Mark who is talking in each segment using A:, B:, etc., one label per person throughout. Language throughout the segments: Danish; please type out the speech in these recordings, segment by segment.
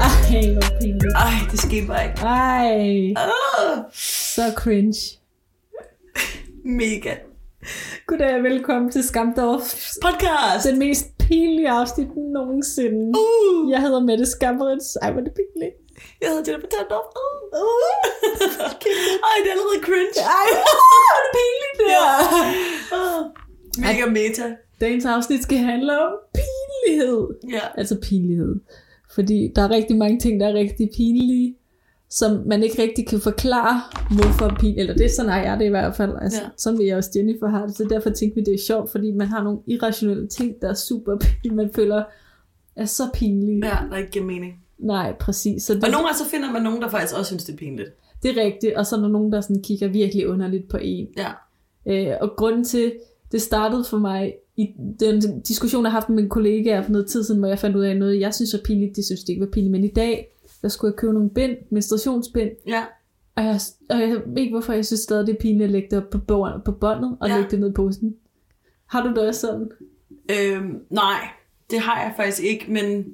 A: noget pinligt.
B: Ej, det skete bare ikke.
A: Ej,
B: Ah,
A: så cringe.
B: mega.
A: Goddag og velkommen til Skamdorf.
B: Podcast!
A: Den mest pinlige afsnit nogensinde.
B: Uh,
A: Jeg hedder Mette Skammerits. Ej, hvor er det pinligt.
B: jeg hedder Jennifer Tandorf. Uh, uh. Ej, det er allerede cringe.
A: Ej, hvor er det pinligt det
B: Ja.
A: her.
B: Ah, mega meta.
A: Dagens afsnit skal handle om pinlighed.
B: Ja.
A: Altså pinlighed. Fordi der er rigtig mange ting, der er rigtig pinlige, som man ikke rigtig kan forklare, hvorfor er pin... Eller det er sådan, jeg er det i hvert fald. Altså,
B: Ja.
A: ja. Sådan vil jeg også Jennifer har det. Så derfor tænkte vi, det er sjovt, fordi man har nogle irrationelle ting, der er super pinlige, man føler er så pinlige.
B: ja, der ikke giver mening.
A: Nej, præcis. Så det,
B: Og nogle gange så finder man nogen, der faktisk også synes, det er pinligt.
A: det er rigtigt. Og så er der nogen, der sådan kigger virkelig underligt på en.
B: Ja.
A: Øh, og grunden til, det startede for mig i den diskussion, jeg har haft med mine kollegaer for noget tid siden, hvor jeg fandt ud af noget, jeg synes var pinligt, de synes det ikke var pinligt, men i dag, der skulle jeg købe nogle bind, menstruationsbind,
B: Ja.
A: og jeg, og jeg ved ikke, hvorfor jeg synes stadig, det er pinligt at lægge det op på, bord, på båndet og
B: Ja.
A: ja. lægge det ned i posen. Har du det også sådan?
B: Øhm, nej, det har jeg faktisk ikke, men...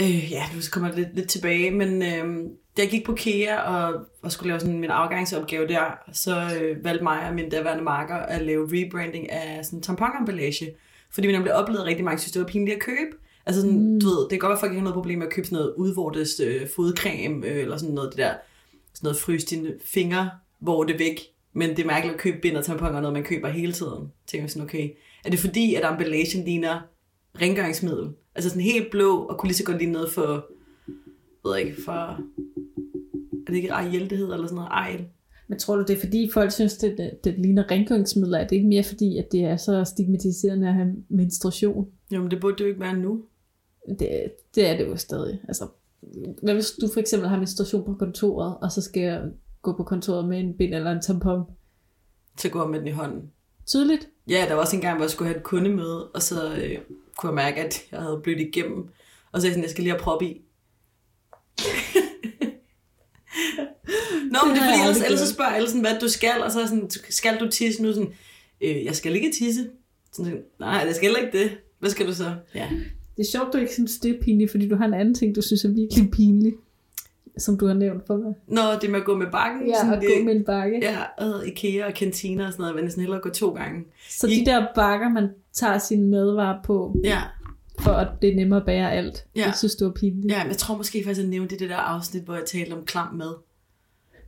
B: Øh, ja, nu kommer jeg lidt, lidt tilbage, men øh, da jeg gik på KEA og, og skulle lave sådan min afgangsopgave der, så øh, valgte mig og min daværende marker at lave rebranding af sådan tamponemballage, fordi vi nemlig oplevede at rigtig mange synes, det var pinligt at købe. Altså sådan, mm. du ved, det kan godt være, at folk ikke har noget problem med at købe sådan noget udvortes øh, fodcreme, øh, eller sådan noget det der, sådan noget frys dine fingre, hvor det er væk. Men det er mærkeligt at købe bind og tamponer, noget man køber hele tiden. Tænker jeg sådan, okay, er det fordi, at emballagen ligner rengøringsmiddel? Altså sådan helt blå, og kunne lige så godt ligne noget for, ved jeg ikke, for, er det ikke Ariel, det hedder, eller sådan noget, Ariel?
A: Men tror du, det er fordi folk synes, det, det, det ligner rengøringsmidler? Er det ikke mere fordi, at det er så stigmatiserende at have menstruation?
B: Jamen, det burde det jo ikke være nu.
A: Det, det er det jo stadig. Altså, hvad hvis du for eksempel har menstruation på kontoret, og så skal jeg gå på kontoret med en bind eller en tampon?
B: Så går jeg med den i hånden.
A: Tydeligt.
B: Ja, der var også en gang, hvor jeg skulle have et kundemøde, og så øh, kunne jeg mærke, at jeg havde blødt igennem. Og så er jeg sådan, jeg skal lige have prop i. Nå, men det er
A: har jeg
B: fordi, ellers,
A: aldrig
B: ellers så
A: gjort.
B: spørger alle sådan, hvad du skal, og så er jeg sådan, skal du tisse nu? Sådan, øh, jeg skal ikke tisse. Sådan, nej, jeg skal heller ikke det. Hvad skal du så? Ja.
A: Det er sjovt, du ikke synes, det er pinligt, fordi du har en anden ting, du synes er virkelig pinlig, som du har nævnt for mig.
B: Nå, det med at gå med bakken.
A: Ja,
B: sådan,
A: at
B: det,
A: gå med en bakke. Ja.
B: Ja, og IKEA og kantiner og sådan noget, men sådan hellere gå to gange.
A: Så de der bakker, man tager sine madvarer på,
B: Ja,
A: for at det er nemmere at bære alt.
B: Ja.
A: Ja. Det synes du er pinligt.
B: Ja, men jeg tror måske faktisk, at jeg nævnte i det der afsnit, hvor jeg talte om klam med.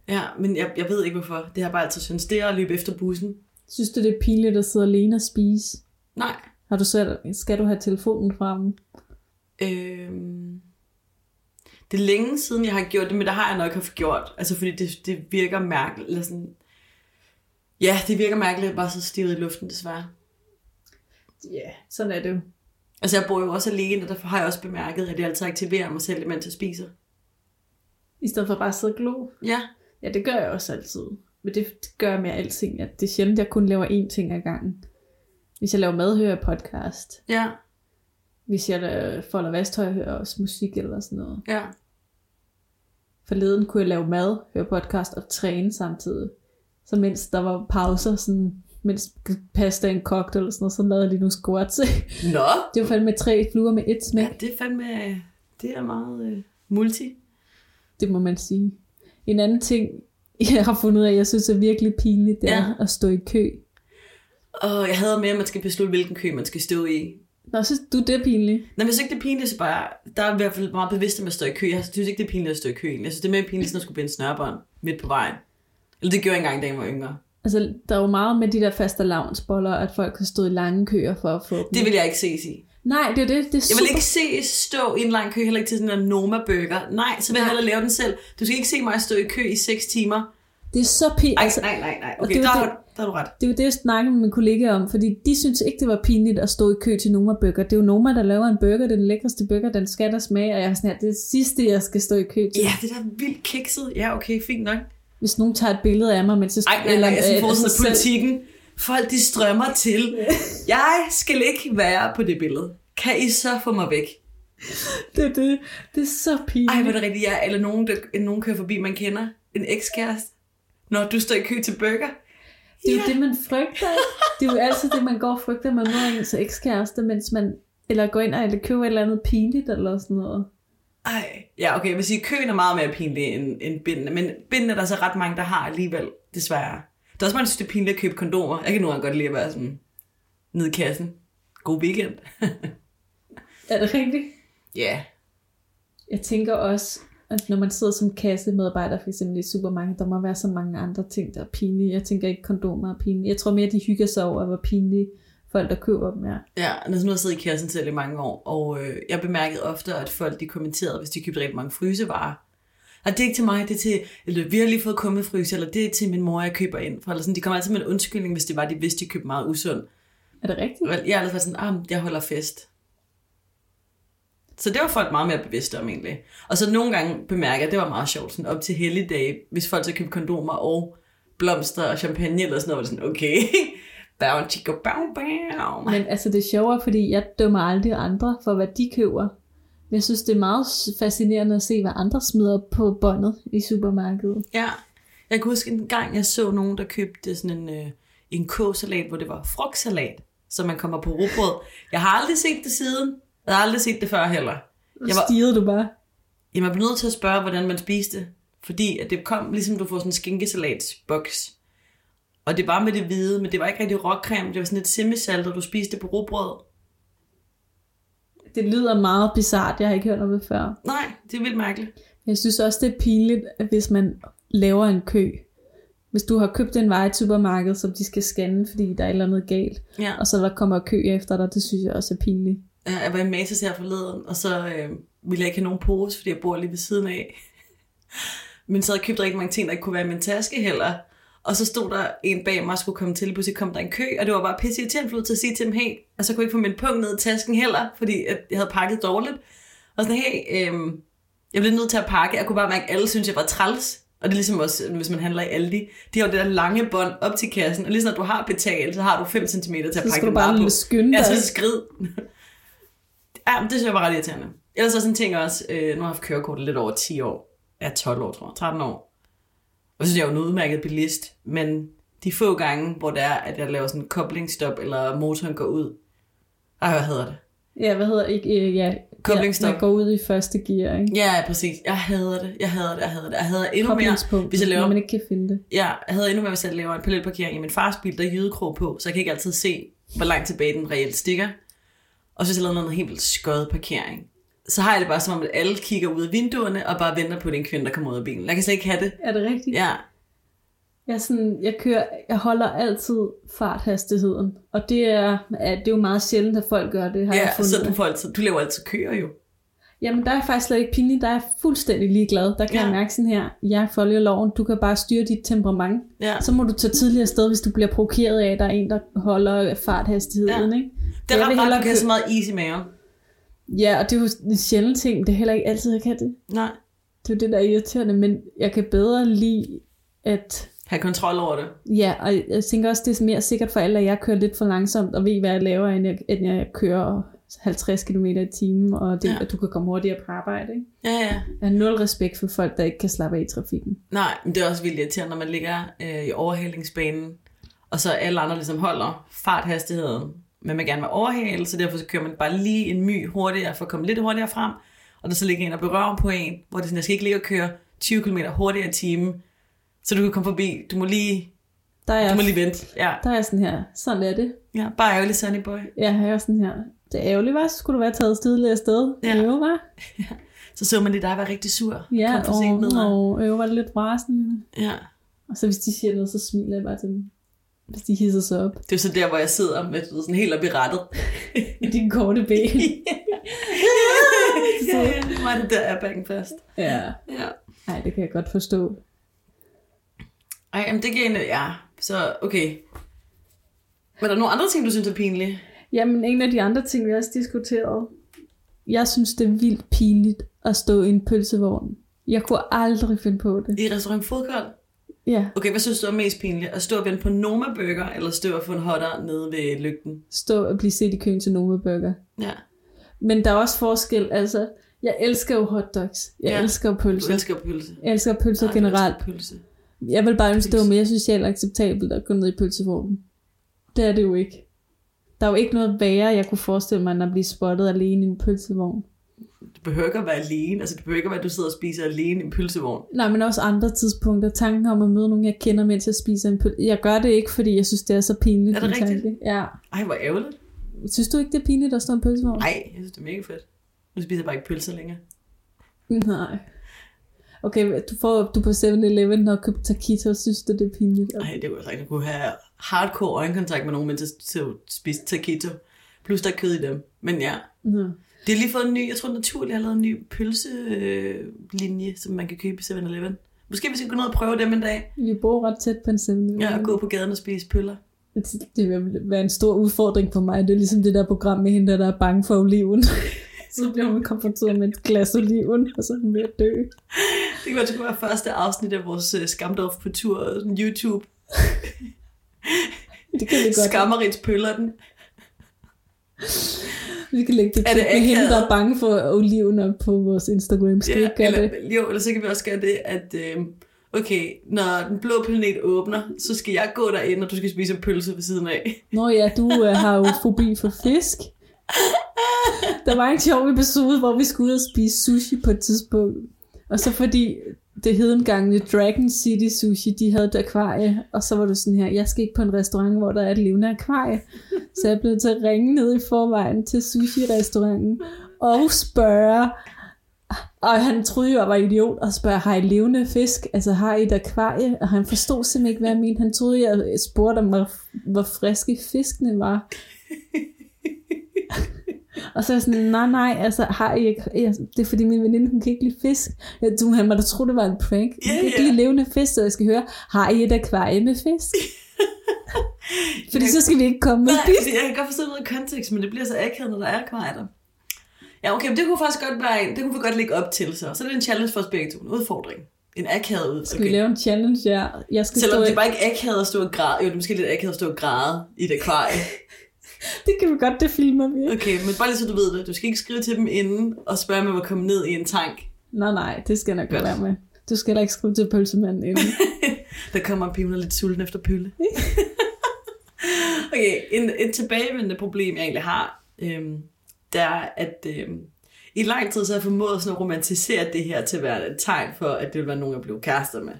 B: Ja, men jeg, jeg ved ikke hvorfor. Det har jeg bare altid syntes. Det er at løbe efter bussen.
A: Synes du, det er pinligt at sidde alene og spise?
B: Nej.
A: Har du selv, skal du have telefonen fremme?
B: Øhm, det er længe siden, jeg har gjort det, men der har jeg nok haft gjort. Altså, fordi det, det virker mærkeligt. Eller sådan... Ja, det virker mærkeligt, at bare så stivet i luften, desværre.
A: Ja, yeah, sådan er det jo.
B: Altså, jeg bor jo også alene, og derfor har jeg også bemærket, at jeg altid aktiverer mig selv, imens jeg spiser.
A: I stedet for bare at sidde og glo.
B: Ja,
A: Ja, det gør jeg også altid. Men det, det gør jeg med alting. At det er sjældent, jeg kun laver én ting ad gangen. Hvis jeg laver mad, hører jeg podcast.
B: ja,
A: Hvis jeg øh, folder vasktøj, hører jeg også musik eller sådan noget.
B: ja.
A: Forleden kunne jeg lave mad, høre podcast og træne samtidig. Så mens der var pauser, sådan, mens pastaen kogte eller sådan noget, så lavede jeg lige nogle squats.
B: Nå!
A: det var fandme tre fluer med et smæk.
B: Ja, det er fandme... Det er meget øh, multi.
A: Det må man sige. En anden ting, jeg har fundet ud af, jeg synes er virkelig pinligt, det er at stå i kø.
B: Og jeg hader med, at man skal beslutte, hvilken kø man skal stå i.
A: Nå, synes du, det er pinligt?
B: Nå, men jeg synes ikke, det er pinligt, så bare... Der er i hvert fald meget bevidst om at stå i kø. Jeg synes ikke, det er pinligt at stå i kø. egentlig. Jeg synes, det er mere pinligt, sådan at skulle binde snørbånd midt på vejen. Eller det gjorde jeg engang, da jeg var yngre.
A: Altså, der er jo meget med de der faste lavnsboller, at folk har stået i lange køer for at få dem.
B: Det vil jeg ikke ses i.
A: Nej, det er det. Det er
B: Jeg vil
A: super...
B: ikke se stå i en lang kø, heller ikke til sådan en Noma Burger. Nej, så vil jeg
A: Nej.
B: hellere lave den selv. Du skal ikke se mig stå i kø i 6 timer.
A: Det er så pinligt.
B: Ej,
A: Altså,
B: nej, nej, nej.
A: og
B: Okay,
A: det
B: der,
A: er jo
B: har du- der har du ret.
A: det er jo det, jeg snakkede med mine kollegaer om, fordi de synes ikke, det var pinligt at stå i kø til Noma Burger. Det er jo Noma, der laver en burger, det er den lækreste burger, den skal der smage, og jeg er sådan her, det er det sidste, jeg skal stå i kø til.
B: Ja, det der er vildt kikset. Ja, okay, fint nok.
A: Hvis nogen tager et billede af mig, mens jeg
B: Ej, nej, nej, jeg synes,
A: øh,
B: vores
A: altså, selv-
B: politikken. Folk, de strømmer til. Jeg skal ikke være på det billede. Kan I så få mig væk?
A: Det, er det, det er så pinligt.
B: Ej, hvor er det rigtigt, jeg eller nogen, der, nogen kører forbi, man kender. En ekskæreste. Når du står i kø til burger.
A: Det er jo det, man frygter. Det er jo altid det, man går og frygter, man altså møder ens ekskæreste, mens man eller går ind og eller køber et eller andet pinligt eller sådan noget.
B: Ej. Ja, okay, jeg vil sige, køen er meget mere pinlig end, end bindene, men bindene er der så ret mange, der har alligevel, desværre. Der er også mange, der synes, det er pinligt at købe kondomer. Jeg kan nogle gange godt lide at være sådan, nede i kassen. God weekend.
A: Er det rigtigt?
B: Ja. yeah.
A: Jeg tænker også, at når man sidder som kassemedarbejder for eksempel i supermarkedet, der må være så mange andre ting, der er pinlige. Jeg tænker ikke, kondomer er pinlige. Jeg tror mere, de hygger sig over, hvor pinlige folk, der køber dem er.
B: Ja, og nu har jeg siddet i kassen selv i mange år, og øh, jeg bemærkede ofte, at folk de kommenterede, hvis de købte rigtig mange frysevarer. Og det er ikke til mig, det er til, eller vi har lige fået kummet fryse, eller det er til min mor, jeg køber ind for. Eller sådan, de kommer altid med en undskyldning, hvis det var, de vidste, de købte meget usund.
A: Er det rigtigt?
B: Og Jeg har altid været sådan, ah, men jeg holder fest. Så det var folk meget mere bevidste om egentlig. Og så nogle gange bemærker jeg, at det var meget sjovt, sådan op til helligdage, hvis folk så købte kondomer og blomster og champagne eller sådan noget, var det sådan, okay, bow, chicka, bow, bow.
A: Men altså, det er sjovere, fordi jeg dømmer aldrig andre for, hvad de køber. Men jeg synes, det er meget s- fascinerende at se, hvad andre smider op på båndet i supermarkedet.
B: Ja. Jeg kan huske en gang, jeg så nogen, der købte sådan en, øh, en kåsalat, hvor det var frugtsalat, som man kommer på rugbrød. Jeg har aldrig set det siden. Jeg har aldrig set det før heller.
A: Nu
B: Jeg var-
A: stirrede du bare.
B: Jamen, jeg blev nødt til at spørge, hvordan man spiste det. Fordi at det kom, ligesom du får sådan en skinkesalatsboks. Og det var med det hvide, men det var ikke rigtig råcreme. Det var sådan lidt semisaltet, du spiste det på rugbrød.
A: Det lyder meget bizart, jeg har ikke hørt om det før.
B: Nej, det er vildt mærkeligt.
A: Jeg synes også, det er pinligt, at hvis man laver en kø. Hvis du har købt en vej i supermarkedet, som de skal scanne, fordi der er et eller andet galt,
B: Ja.
A: og så der kommer kø efter dig, det synes jeg også er pinligt.
B: Ja, Jeg var i Matas her forleden, og så øh, ville jeg ikke have nogen pose, fordi jeg bor lige ved siden af. Men så havde jeg købt rigtig mange ting, der ikke kunne være i min taske heller. Og så stod der en bag mig, og skulle komme til, pludselig kom der en kø, og det var bare pisse irriterende, for jeg var nødt til at sige til dem, hey, og så kunne jeg ikke få min punkt ned i tasken heller, fordi at jeg havde pakket dårligt. Og sådan, hey, øh, jeg blev nødt til at pakke, jeg kunne bare mærke, at alle synes jeg var træls. Og det er ligesom også, hvis man handler i Aldi, de har jo det der lange bånd op til kassen, og lige når du har betalt, så har du 5 cm til at
A: Så
B: pakke
A: skal du
B: den vare på. Altså,
A: bare skynde dig.
B: Ja, så skrid. ja, men det synes jeg var ret irriterende. Ellers er sådan en ting også, øh, nu har jeg haft kørekort i lidt over 10 år. Ja, 12 år, tror jeg. 13 år. Og så synes jeg, jeg er jo en udmærket bilist, men de få gange, hvor det er, at jeg laver sådan en koblingsstop, eller motoren går ud. Ej, hvad hedder det?
A: Ja, hvad hedder ikke? Øh, ja,
B: Koblingsstop.
A: Ja, man går ud i første gear, ikke?
B: Ja, præcis. Jeg hader det. Jeg hader det. Jeg hader det. Jeg hader endnu mere.
A: Koblingspunkt,
B: hvis jeg laver-
A: når man ikke kan finde det.
B: Ja, jeg hader endnu mere, hvis jeg laver en parallelparkering i min fars bil, der er jydekrog på, så jeg kan ikke altid se, hvor langt tilbage den reelt stikker. Og så hvis jeg laver noget helt vildt skød parkering, så har jeg det bare som om, at alle kigger ud af vinduerne og bare venter på, at det er en kvinde, der kommer ud af bilen. Jeg kan slet ikke have det.
A: Er det rigtigt?
B: Ja,
A: Jeg, er sådan, jeg, kører, jeg holder altid farthastigheden, og det er, ja, det er jo meget sjældent, at folk gør det, har jeg
B: ja
A: fundet.
B: så du,
A: ud af.
B: får altid, du laver altid køer jo.
A: Jamen, der er jeg faktisk slet ikke pinlig, der er jeg fuldstændig ligeglad. Der kan
B: Ja.
A: ja. jeg mærke sådan her, jeg følger loven, du kan bare styre dit temperament.
B: Ja.
A: Så må du tage tidligere sted, hvis du bliver provokeret af, at der er en, der holder farthastigheden,
B: Ja.
A: ikke?
B: Det er
A: Jeg
B: ret
A: vil
B: rart,
A: hellere
B: du kan have
A: kø-
B: så meget is i maven.
A: Ja, og det er jo en sjælden ting, men det er heller ikke altid, jeg kan det.
B: Nej.
A: Det er jo det, der er irriterende, men jeg kan bedre lide, at...
B: Have kontrol over det.
A: Ja, og jeg tænker også, det er mere sikkert for alle, at jeg kører lidt for langsomt, og ved, hvad jeg laver, end jeg, end jeg kører 50 km i timen, og det,
B: Ja.
A: ja. at du kan komme hurtigere på arbejde. Ikke?
B: Ja, ja.
A: Jeg har nul respekt for folk, der ikke kan slappe af i trafikken.
B: Nej, men det er også vildt irriterende, når man ligger øh, i overhalingsbanen, og så alle andre ligesom holder farthastigheden, men man gerne vil overhale, så derfor så kører man bare lige en my hurtigere for at komme lidt hurtigere frem, og der så ligger en og berører på en, hvor det er sådan, jeg skal ikke ligge og køre 20 km hurtigere i timen, så du kan komme forbi, du må lige,
A: Der er,
B: du må
A: jeg,
B: lige vente. Ja,
A: der er jeg sådan her, sådan er det.
B: ja bare ærgerlig sunny boy.
A: Ja, jeg er sådan her, det er ærgerligt, var, så skulle du være taget tidligere afsted.
B: Ja.
A: Ja. Øve, var?
B: Så så man lige dig være rigtig sur.
A: Ja,
B: Kom for sent ned.
A: og, og øve, var det lidt rasende.
B: Ja.
A: Og så hvis de siger noget, så smiler jeg bare til dem. Hvis de hisser sig op.
B: Det er så der, hvor jeg sidder med du ved, sådan helt op i rettet.
A: I dine korte ben.
B: ja, ja, Hvor er det der er bakken fast.
A: ja.
B: Ja.
A: Nej, det kan jeg godt forstå.
B: Ej, jamen det giver en... Ja, så okay. Men er der nogle andre ting, du synes er pinlige?
A: Jamen, en af de andre ting, vi også diskuterede. Jeg synes, det er vildt pinligt at stå i en pølsevogn. Jeg kunne aldrig finde på det.
B: I restaurant Fodkold?
A: Ja,
B: Okay, hvad synes du er mest pinligt? At stå og vente på Noma Burger, eller stå og få en hotter nede ved lygten?
A: stå og blive set i køen til Noma Burger.
B: Ja.
A: Men der er også forskel, altså. Jeg elsker jo hotdogs. Jeg
B: Ja.
A: ja. elsker jo
B: Du
A: pølser.
B: elsker pølse.
A: Jeg elsker pølser
B: Ej, du
A: generelt.
B: elsker Pølse.
A: Jeg vil bare ønske, det var
B: Pølse.
A: mere socialt acceptabelt at gå ned i pølsevognen. Det er det jo ikke. Der er jo ikke noget værre, jeg kunne forestille mig, end at blive spottet alene i en pølsevogn.
B: du behøver ikke at være alene. Altså, det behøver ikke at være, at du sidder og spiser alene i en pølsevogn.
A: Nej, men også andre tidspunkter. Tanken om at møde nogen, jeg kender, mens jeg spiser en pølse. Jeg gør det ikke, fordi jeg synes, det er så pinligt.
B: Er det
A: den tanke.
B: rigtigt?
A: Ja.
B: Ej, hvor ærgerligt.
A: Synes du ikke, det er pinligt at stå en pølsevogn?
B: Nej, jeg synes, det er mega fedt. Nu spiser jeg bare ikke pølser længere.
A: Nej. Okay, du får du på 7-Eleven og købt taquito, synes du, det er pinligt?
B: Ej, det kunne jeg sagt. Jeg kunne have hardcore øjenkontakt med nogen, mens jeg så spiste taquito. Plus, der er kød i dem. Men ja,
A: Nå.
B: det har lige fået en ny, jeg tror naturligt har lavet en ny pølselinje, øh, som man kan købe i 7-Eleven. Måske vi skal gå ned og prøve dem en dag.
A: Vi bor ret tæt på en 7-Eleven.
B: Ja, og gå på gaden og spise pøller.
A: Det- Det vil være en stor udfordring for mig. Det er ligesom det der program med hende, der, der er bange for oliven. så bliver hun konfronteret med et glas oliven, og så er hun ved at dø.
B: Det kan være, det skulle være første afsnit af vores uh, Skamdorf på tur, sådan YouTube.
A: Det kan vi godt.
B: Skammerits pøller den.
A: Vi kan lægge det
B: Er
A: klip
B: det
A: med hende,
B: akavet?
A: der er bange for oliven op på vores Instagram. Skal vi ikke gøre det?
B: eller, Jo, eller så kan vi også gøre det, at øh, okay, når den blå planet åbner, så skal jeg gå derind, og du skal spise en pølse ved siden af.
A: Nå ja, du øh, har jo fobi for fisk. Der var en sjov episode, hvor vi skulle ud og spise sushi på et tidspunkt. Og så fordi det hedengangende Dragon City Sushi, de havde et akvarie, og så var du sådan her, jeg skal ikke på en restaurant, hvor der er et levende akvarie. Så jeg blev til at ringe ned i forvejen til sushi-restauranten og spørge, og han troede jo, jeg var idiot, og spørger, har I levende fisk? Altså, har I et akvarie? Og han forstod simpelthen ikke, hvad jeg mente. Han troede, jeg spurgte om, hvor, hvor friske fiskene var. og så er jeg sådan, nej, nej, altså, har I, ak- ja, det er fordi min veninde, hun kan ikke lide fisk. Jeg tror, han måtte tro, det var en prank. Hun
B: Ja,
A: kan ikke
B: ja.
A: lide levende fisk, så jeg skal høre, har I et akvarie med fisk? fordi så skal vi ikke komme med
B: Nej,
A: fisk.
B: altså, jeg kan godt forstå noget kontekst, men det bliver så akavet, når der er kvejder. Ja, okay, men det kunne faktisk godt være en, det kunne vi godt lægge op til, så. Så er det en challenge for os begge to, en udfordring. En akavet
A: Skal vi
B: udfordring.
A: lave en challenge, ja. Jeg skal
B: Selvom
A: stå
B: det
A: i-
B: er bare ikke akavet at stå og græde. Jo, det er måske lidt akavet at stå og græde i et akvarie.
A: Det kan vi godt, det filmer vi.
B: Okay, men bare lige så du ved det. Du skal ikke skrive til dem inden og spørge, om jeg må komme ned i en tank.
A: Nej, nej, det skal jeg nok
B: Godt.
A: godt være med. Du skal da ikke skrive til pølsemanden inden.
B: Der kommer piven er lidt sulten efter pølle. okay, en, en tilbagevendende problem, jeg egentlig har, øhm, det er, at øhm, i lang tid så har jeg formået sådan at romantisere det her til at være et tegn for, at det vil være nogen, jeg blev kærester med.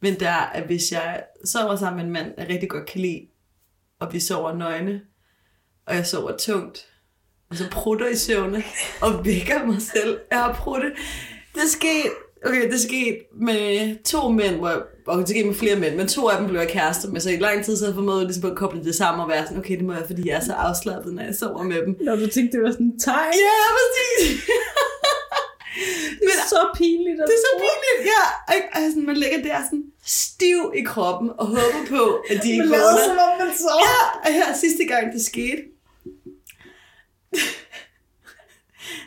B: Men der er, at hvis jeg sover sammen med en mand, jeg rigtig godt kan lide, og vi sover nøgne, og jeg sover tungt, og så prutter i søvne, og vækker mig selv af at prutte. Det skete, okay, det skete med to mænd, hvor jeg, okay, det skete med flere mænd, men to af dem blev jeg kærester med, så i lang tid så havde jeg formået ligesom at koble det sammen og være sådan, okay, det må være, fordi jeg er så afslappet, når jeg sover med dem.
A: Når du tænkte, det var sådan en tegn.
B: Ja, præcis!
A: Det er så pinligt.
B: Det er så pinligt, ja. Og, og sådan, man ligger der sådan stiv i kroppen og håber på, at de ikke vågner.
A: som om man så.
B: Ja, og her sidste gang det skete.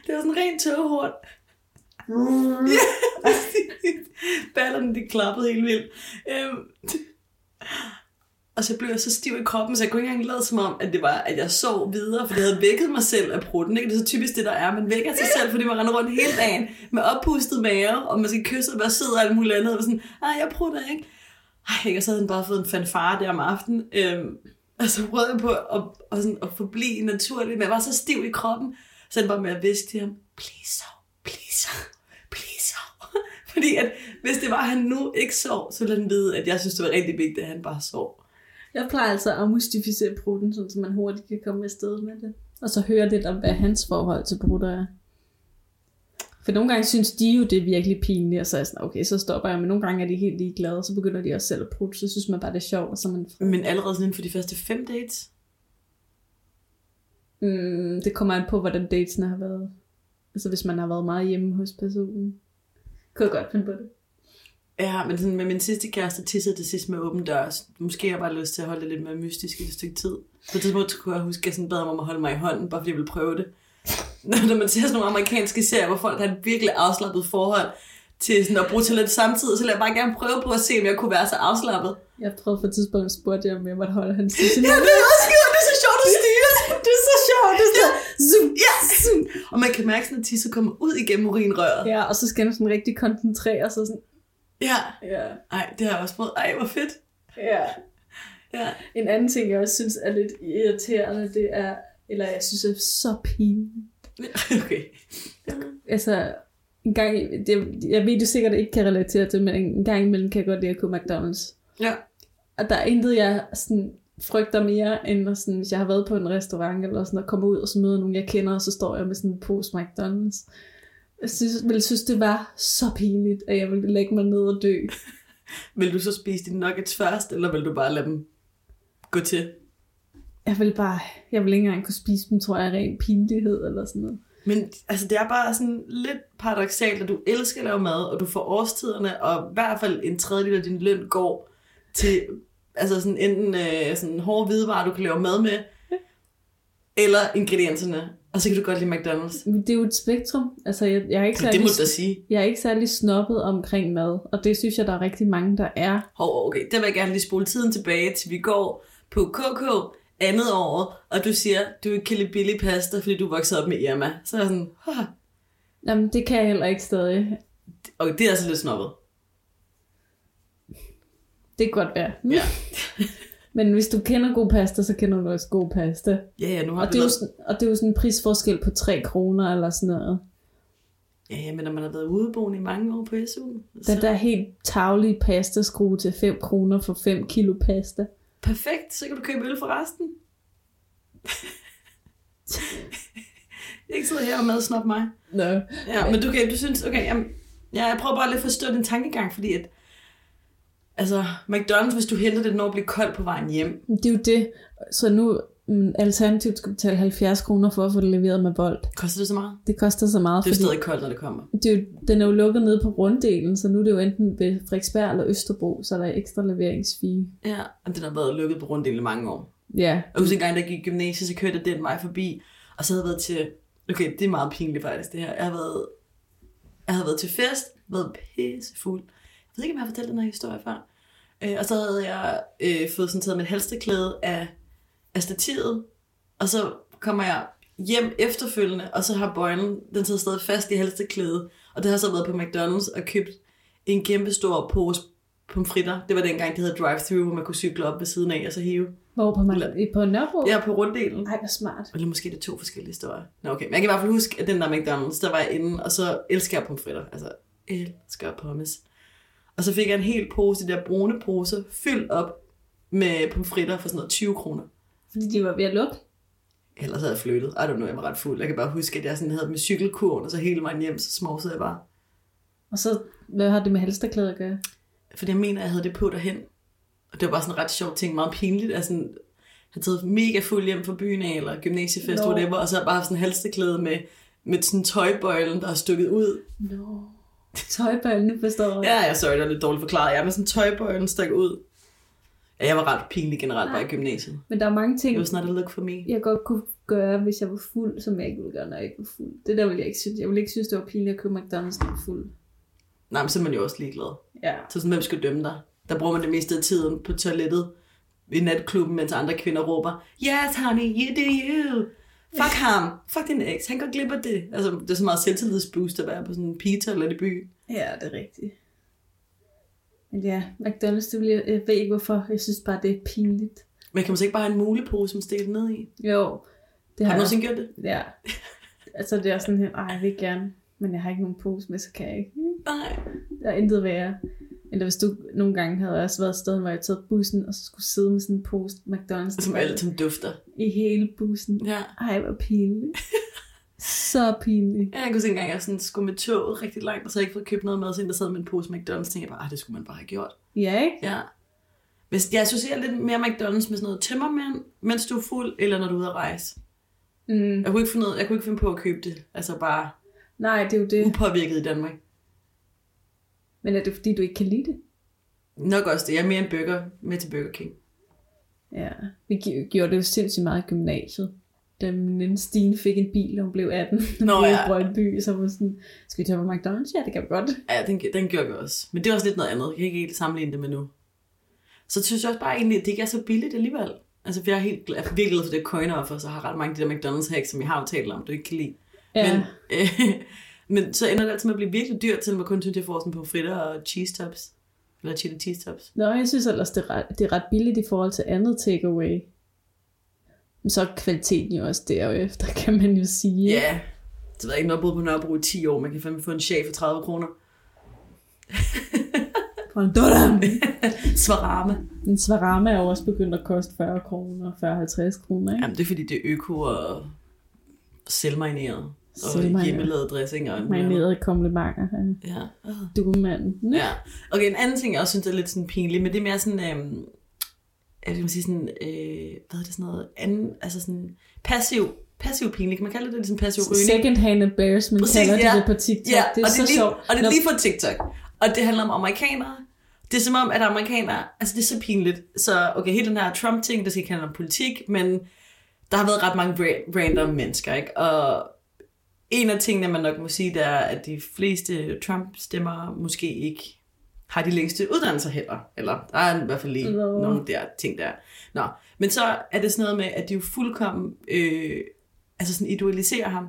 B: det var sådan en ren tøvhorn.
A: Mm.
B: Ja, Ballerne, de klappede helt vildt. Øhm. Og så blev jeg så stiv i kroppen, så jeg kunne ikke engang lade som om, at det var, at jeg sov videre, for det havde vækket mig selv af prutten. Ikke? Det er så typisk det, der er. Man vækker sig selv, fordi man render rundt hele dagen med oppustet mave, og man skal kysse og være sød og alt muligt andet. Og sådan, ej, jeg prutter ikke. Ej, og så havde den bare fået en fanfare der om aftenen. Øhm, og så prøvede jeg på at, at, sådan, at forblive naturlig, men jeg var så stiv i kroppen, så den var med at viske til ham, please sov, please sov, please sov. Fordi at, hvis det var, at han nu ikke sov, så ville han vide, at jeg synes, det var rigtig vigtigt, at han bare sov.
A: Jeg plejer altså at mystificere prutten, sådan, så man hurtigt kan komme afsted med det. Og så høre lidt om, hvad hans forhold til brutter er. For nogle gange synes de jo, det er virkelig pinligt, og så er jeg sådan, okay, så stopper jeg. Men nogle gange er de helt ligeglade, og så begynder de også selv at prutte. Så synes man bare, det er sjovt, og så er man...
B: Men allerede sådan inden for de første fem dates,
A: Mm, det kommer an på, hvordan datesene har været. Altså hvis man har været meget hjemme hos personen. Kunne jeg godt finde på det.
B: Ja, men sådan med min sidste kæreste tissede til sidst med åben dør. så Måske jeg bare lyst til at holde det lidt mere mystisk i et stykke tid. På et tidspunkt kunne jeg huske, at jeg sådan bad ham om at holde mig i hånden, bare fordi jeg ville prøve det. Når når man ser sådan nogle amerikanske serier, hvor folk har et virkelig afslappet forhold til sådan at bruge til lidt samtidig, så vil jeg bare gerne prøve på at se, om jeg kunne være så afslappet.
A: Jeg prøvede på et tidspunkt at spørge dig, om jeg måtte holde hans sisse.
B: Ja, det er også skide, det er så sjovt at styre.
A: det er så sjovt. Det er så... Zoom.
B: Yes! Og man kan mærke sådan, at tisse kommer ud igennem urinrøret.
A: Ja, og så skal man sådan rigtig koncentrere sig. Sådan.
B: Ja.
A: Ja,
B: Ej, det har jeg også prøvet. Ej, hvor fedt.
A: ja.
B: Ja.
A: En anden ting, jeg også synes er lidt irriterende, det er, eller jeg synes er så pinligt,
B: Okay.
A: Altså, en gang, i- det, jeg ved, du sikkert ikke kan relatere til, men en gang imellem kan jeg godt lide at købe McDonald's.
B: Ja.
A: Og der er intet, jeg sådan frygter mere, end når sådan, hvis jeg har været på en restaurant, eller sådan, og kommer ud og så møder nogen, jeg kender, og så står jeg med sådan en pose McDonald's. Jeg synes, ville synes, det var så pinligt, at jeg ville lægge mig ned og dø.
B: Vil du så spise dine nuggets først, eller vil du bare lade dem gå til?
A: Jeg ville bare, jeg ville ikke engang kunne spise dem, tror jeg, af ren pinlighed eller sådan noget.
B: Men altså, det er bare sådan lidt paradoxalt, at du elsker at lave mad, og du får årstiderne, og i hvert fald en tredjedel af din løn går til altså sådan enten øh, sådan hårde hvidevarer, du kan lave mad med, eller ingredienserne. Og så kan du godt lide McDonald's.
A: Men Det er jo et spektrum. Altså, jeg, jeg er ikke
B: Det, det
A: særlig,
B: må du da sige.
A: jeg er ikke særlig snobbet omkring mad, og det synes jeg, der er rigtig mange, der er.
B: Hov, okay, der vil jeg gerne lige spole tiden tilbage, til vi går på KK andet år, og du siger, du ikke kan lide billig pasta, fordi du voksede op med Irma. Så er jeg sådan, "Haha."
A: Jamen, det kan jeg heller ikke stadig.
B: okay, det er altså lidt snobbet.
A: Det kan godt være.
B: Ja.
A: Men hvis du kender god pasta, så kender du også god pasta.
B: Ja, ja, nu har
A: Og
B: vi
A: det, er jo
B: været-
A: sådan, og det er jo sådan en prisforskel på 3 kroner eller sådan noget.
B: Ja, ja, men når man har været udeboende i mange år på SU, så
A: Den der helt tavlige pasta skrue til 5 kroner for 5 kilo pasta.
B: perfekt, så kan du købe øl for resten. ikke sidde her og madsnop mig.
A: Nå.
B: Ja, men du, kan, du synes, okay, jamen, ja, jeg prøver bare lidt at forstå din tankegang, fordi at, altså, McDonald's, hvis du henter det, den når at blive kold på vejen hjem.
A: Det er jo det. Så nu mm, alternativt skal betale 70 kroner for at få det leveret med bold.
B: Koster det så meget?
A: Det koster så meget,
B: Det er jo
A: fordi
B: stadig koldt, når det kommer.
A: det er jo, den er jo lukket nede på runddelen, så nu er det jo enten ved Frederiksberg eller Østerbro, så er der er ekstra leveringsfige.
B: Ja, og den har været lukket på runddelen i mange år.
A: Ja,
B: Jeg husker en gang, da jeg gik i gymnasiet, så kørte jeg den vej forbi, og så havde jeg været til... Okay, det er meget pinligt faktisk, det her. Jeg har været, jeg havde været til fest, været pissefuld. Jeg ved ikke, om jeg har fortalt den her historie før. Øh, og så havde jeg øh, fået sådan taget mit halsteklæde af, af stativet, og så kommer jeg hjem efterfølgende, og så har bøjlen, den sidder stadig fast i halsteklædet, og det har så været på McDonald's og købt en kæmpe stor pose pomfritter. Det var dengang, det hedder drive-thru, hvor man kunne cykle op ved siden af og så hive.
A: hvor på, man,
B: Eller-
A: på Nørrebro?
B: Jeg er på runddelen.
A: Ej, hvor smart.
B: Eller måske er det to forskellige historier. Nå, okay. Men jeg kan i hvert fald huske, at den der McDonald's, der var jeg inde, og så elsker jeg pomfritter. Altså, elsker pommes. Og så fik jeg en hel pose, de der brune poser, fyldt op med pomfritter for sådan noget 20 kroner.
A: Fordi de var ved at lukke.
B: Ellers havde jeg flyttet. I don't know, jeg var ret fuld. Jeg kan bare huske, at jeg sådan havde dem i cykelkurven, og så hele vejen hjem, så smovsede jeg bare.
A: Og så, hvad har det med halsterklæder at gøre?
B: Fordi jeg mener, at jeg havde det på derhen. Og det var bare sådan en ret sjov ting, meget pinligt. Altså, sådan, jeg havde taget mega fuld hjem fra byen af, eller gymnasiefest,
A: Nå.
B: no. whatever, og så havde jeg bare haft sådan en halsteklæde med, med sådan tøjbøjlen, der er stykket ud.
A: Nå. No. Tøjbøjlene forstår jeg.
B: Ja, ja, sorry, det er lidt dårligt forklaret. Jeg er med sådan tøjbøjlen stak ud. Ja, jeg var ret pinlig generelt bare i gymnasiet.
A: Men der er mange ting,
B: It was not a look for me.
A: jeg godt kunne gøre, hvis jeg var fuld, som jeg ikke ville gøre, når jeg ikke var fuld. Det der ville jeg ikke synes. Jeg ville ikke synes, det var pinligt at købe McDonald's, når jeg var fuld.
B: Nej, men så er man jo også ligeglad.
A: Ja.
B: Så sådan, hvem skal dømme dig? Der bruger man det meste af tiden på toilettet i natklubben, mens andre kvinder råber, Yes, honey, you do you. Fuck ham. Fuck din ex. Han går glip af det. Altså, det er så meget selvtillidsboost at være på sådan en pigetoilet i byen.
A: Ja, det er rigtigt. Men ja, McDonald's, det ville jeg, jeg ved ikke hvorfor. Jeg synes bare, det er pinligt.
B: Men kan man så ikke bare have en mulepose, som stikket ned i?
A: Jo, det
B: Ja.
A: har,
B: Har du
A: jeg.
B: nogensinde gjort det?
A: Ja. Altså, det er sådan her, ej, jeg vil gerne, men jeg har ikke nogen pose med, så kan jeg ikke.
B: Nej.
A: Der er intet værre. Eller hvis du nogle gange havde også været et sted, hvor jeg taget bussen, og så skulle sidde med sådan en pose McDonald's
B: Som alt, som dufter.
A: i hele bussen.
B: Ja.
A: Ej, hvor pinligt. så pinligt.
B: Ja, jeg kunne se engang, jeg sådan skulle med toget rigtig langt, og så havde jeg ikke fået købt noget mad, så en, der sad med en pose McDonald's, tænkte jeg bare, "Ah, det skulle man bare have gjort.
A: Ja, ikke?
B: Ja. Hvis jeg associerer lidt mere McDonald's med sådan noget tømmermand, mens du er fuld, eller når du er ude at rejse.
A: Mm.
B: Jeg kunne ikke finde, ud- jeg kunne ikke finde på at købe det. Altså bare
A: Nej, det er jo det.
B: upåvirket i Danmark.
A: Men er det fordi, du ikke kan lide det?
B: Nok også det. Jeg er mere en burger med til Burger King.
A: Ja. Vi gi- gjorde det jo sindssygt meget i gymnasiet. Da min veninde Stine fik en bil, og hun blev 18. Hun
B: Nå,
A: blev
B: ja.
A: i Brøndby, så var hun sådan, skal vi tage på McDonald's? Ja, det kan vi godt.
B: Ja, den, den gjorde jeg også. Men det er også lidt noget andet. Jeg kan ikke helt sammenligne det med nu. Så synes jeg også bare egentlig, at det ikke er så billigt alligevel. Altså, for jeg er helt glad, jeg er virkelig glad for det coin offer, så har ret mange af de der McDonald's hacks, som jeg har jo talt om, du ikke kan lide.
A: Ja.
B: Men, øh, men så ender det altid med at blive virkelig dyrt, selvom jeg kun synes, jeg får sådan på fritter og cheese tops. Eller chili cheese tops.
A: Nå, jeg synes ellers, det er ret, det er ret billigt i forhold til andet takeaway. Men så er kvaliteten jo også derefter, kan man jo sige.
B: Ja, yeah. det ved jeg ikke, når jeg boede på Nørrebro i 10 år, man kan fandme få en chef for 30 kroner.
A: For en dodam.
B: Svarame.
A: En svarama er jo også begyndt at koste 40 kroner, 40-50 kroner, ikke?
B: Jamen, det er fordi, det er øko og selvmarineret. Og
A: Selvmarineret.
B: hjemmelavet dressing. Og alt muligt andet.
A: Marinerede komplimenter af
B: Ja.
A: duemanden. Ja.
B: ja. Okay, en anden ting, jeg også synes er lidt sådan pinlig, men det er mere sådan... Øhm, jeg vil sige sådan, øh, hvad er det sådan noget, anden, altså sådan passiv, passiv pinlig, kan man kalde det, det er ligesom passiv rygning.
A: Second hand embarrassment
B: Præcis,
A: kalder
B: ja.
A: de det på TikTok.
B: Ja,
A: det er
B: og
A: så
B: det er lige,
A: sjovt.
B: Og det
A: Når-
B: er lige fra TikTok. Og det handler om amerikanere. Det er som om, at amerikanere, altså det er så pinligt. Så okay, hele den her Trump-ting, det skal ikke handle om politik, men der har været ret mange ra- random mennesker, ikke? Og en af tingene, man nok må sige, det er, at de fleste Trump-stemmer måske ikke har de længste uddannelser heller. Eller der er i hvert fald lige
A: Nå.
B: nogle der ting der. Nå, men så er det sådan noget med, at de jo fuldkommen øh, altså sådan idealiserer ham.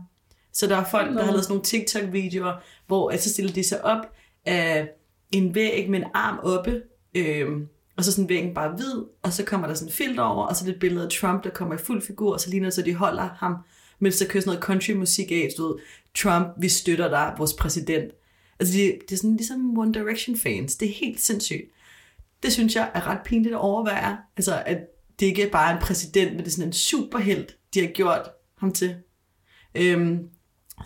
B: Så der er folk, der
A: Nå.
B: har lavet sådan nogle TikTok-videoer, hvor at så stiller de sig op af en væg med en arm oppe, øh, og så er sådan væggen bare hvid, og så kommer der sådan en filter over, og så er det et billede af Trump, der kommer i fuld figur, og så ligner det, så de holder ham, mens der kører sådan noget country-musik af, du ved, Trump, vi støtter dig, vores præsident. Altså, det, det er sådan ligesom One Direction-fans. Det er helt sindssygt. Det synes jeg er ret pinligt at overvære. Altså, at det ikke er bare en præsident, men det er sådan en superhelt, de har gjort ham til. Øhm,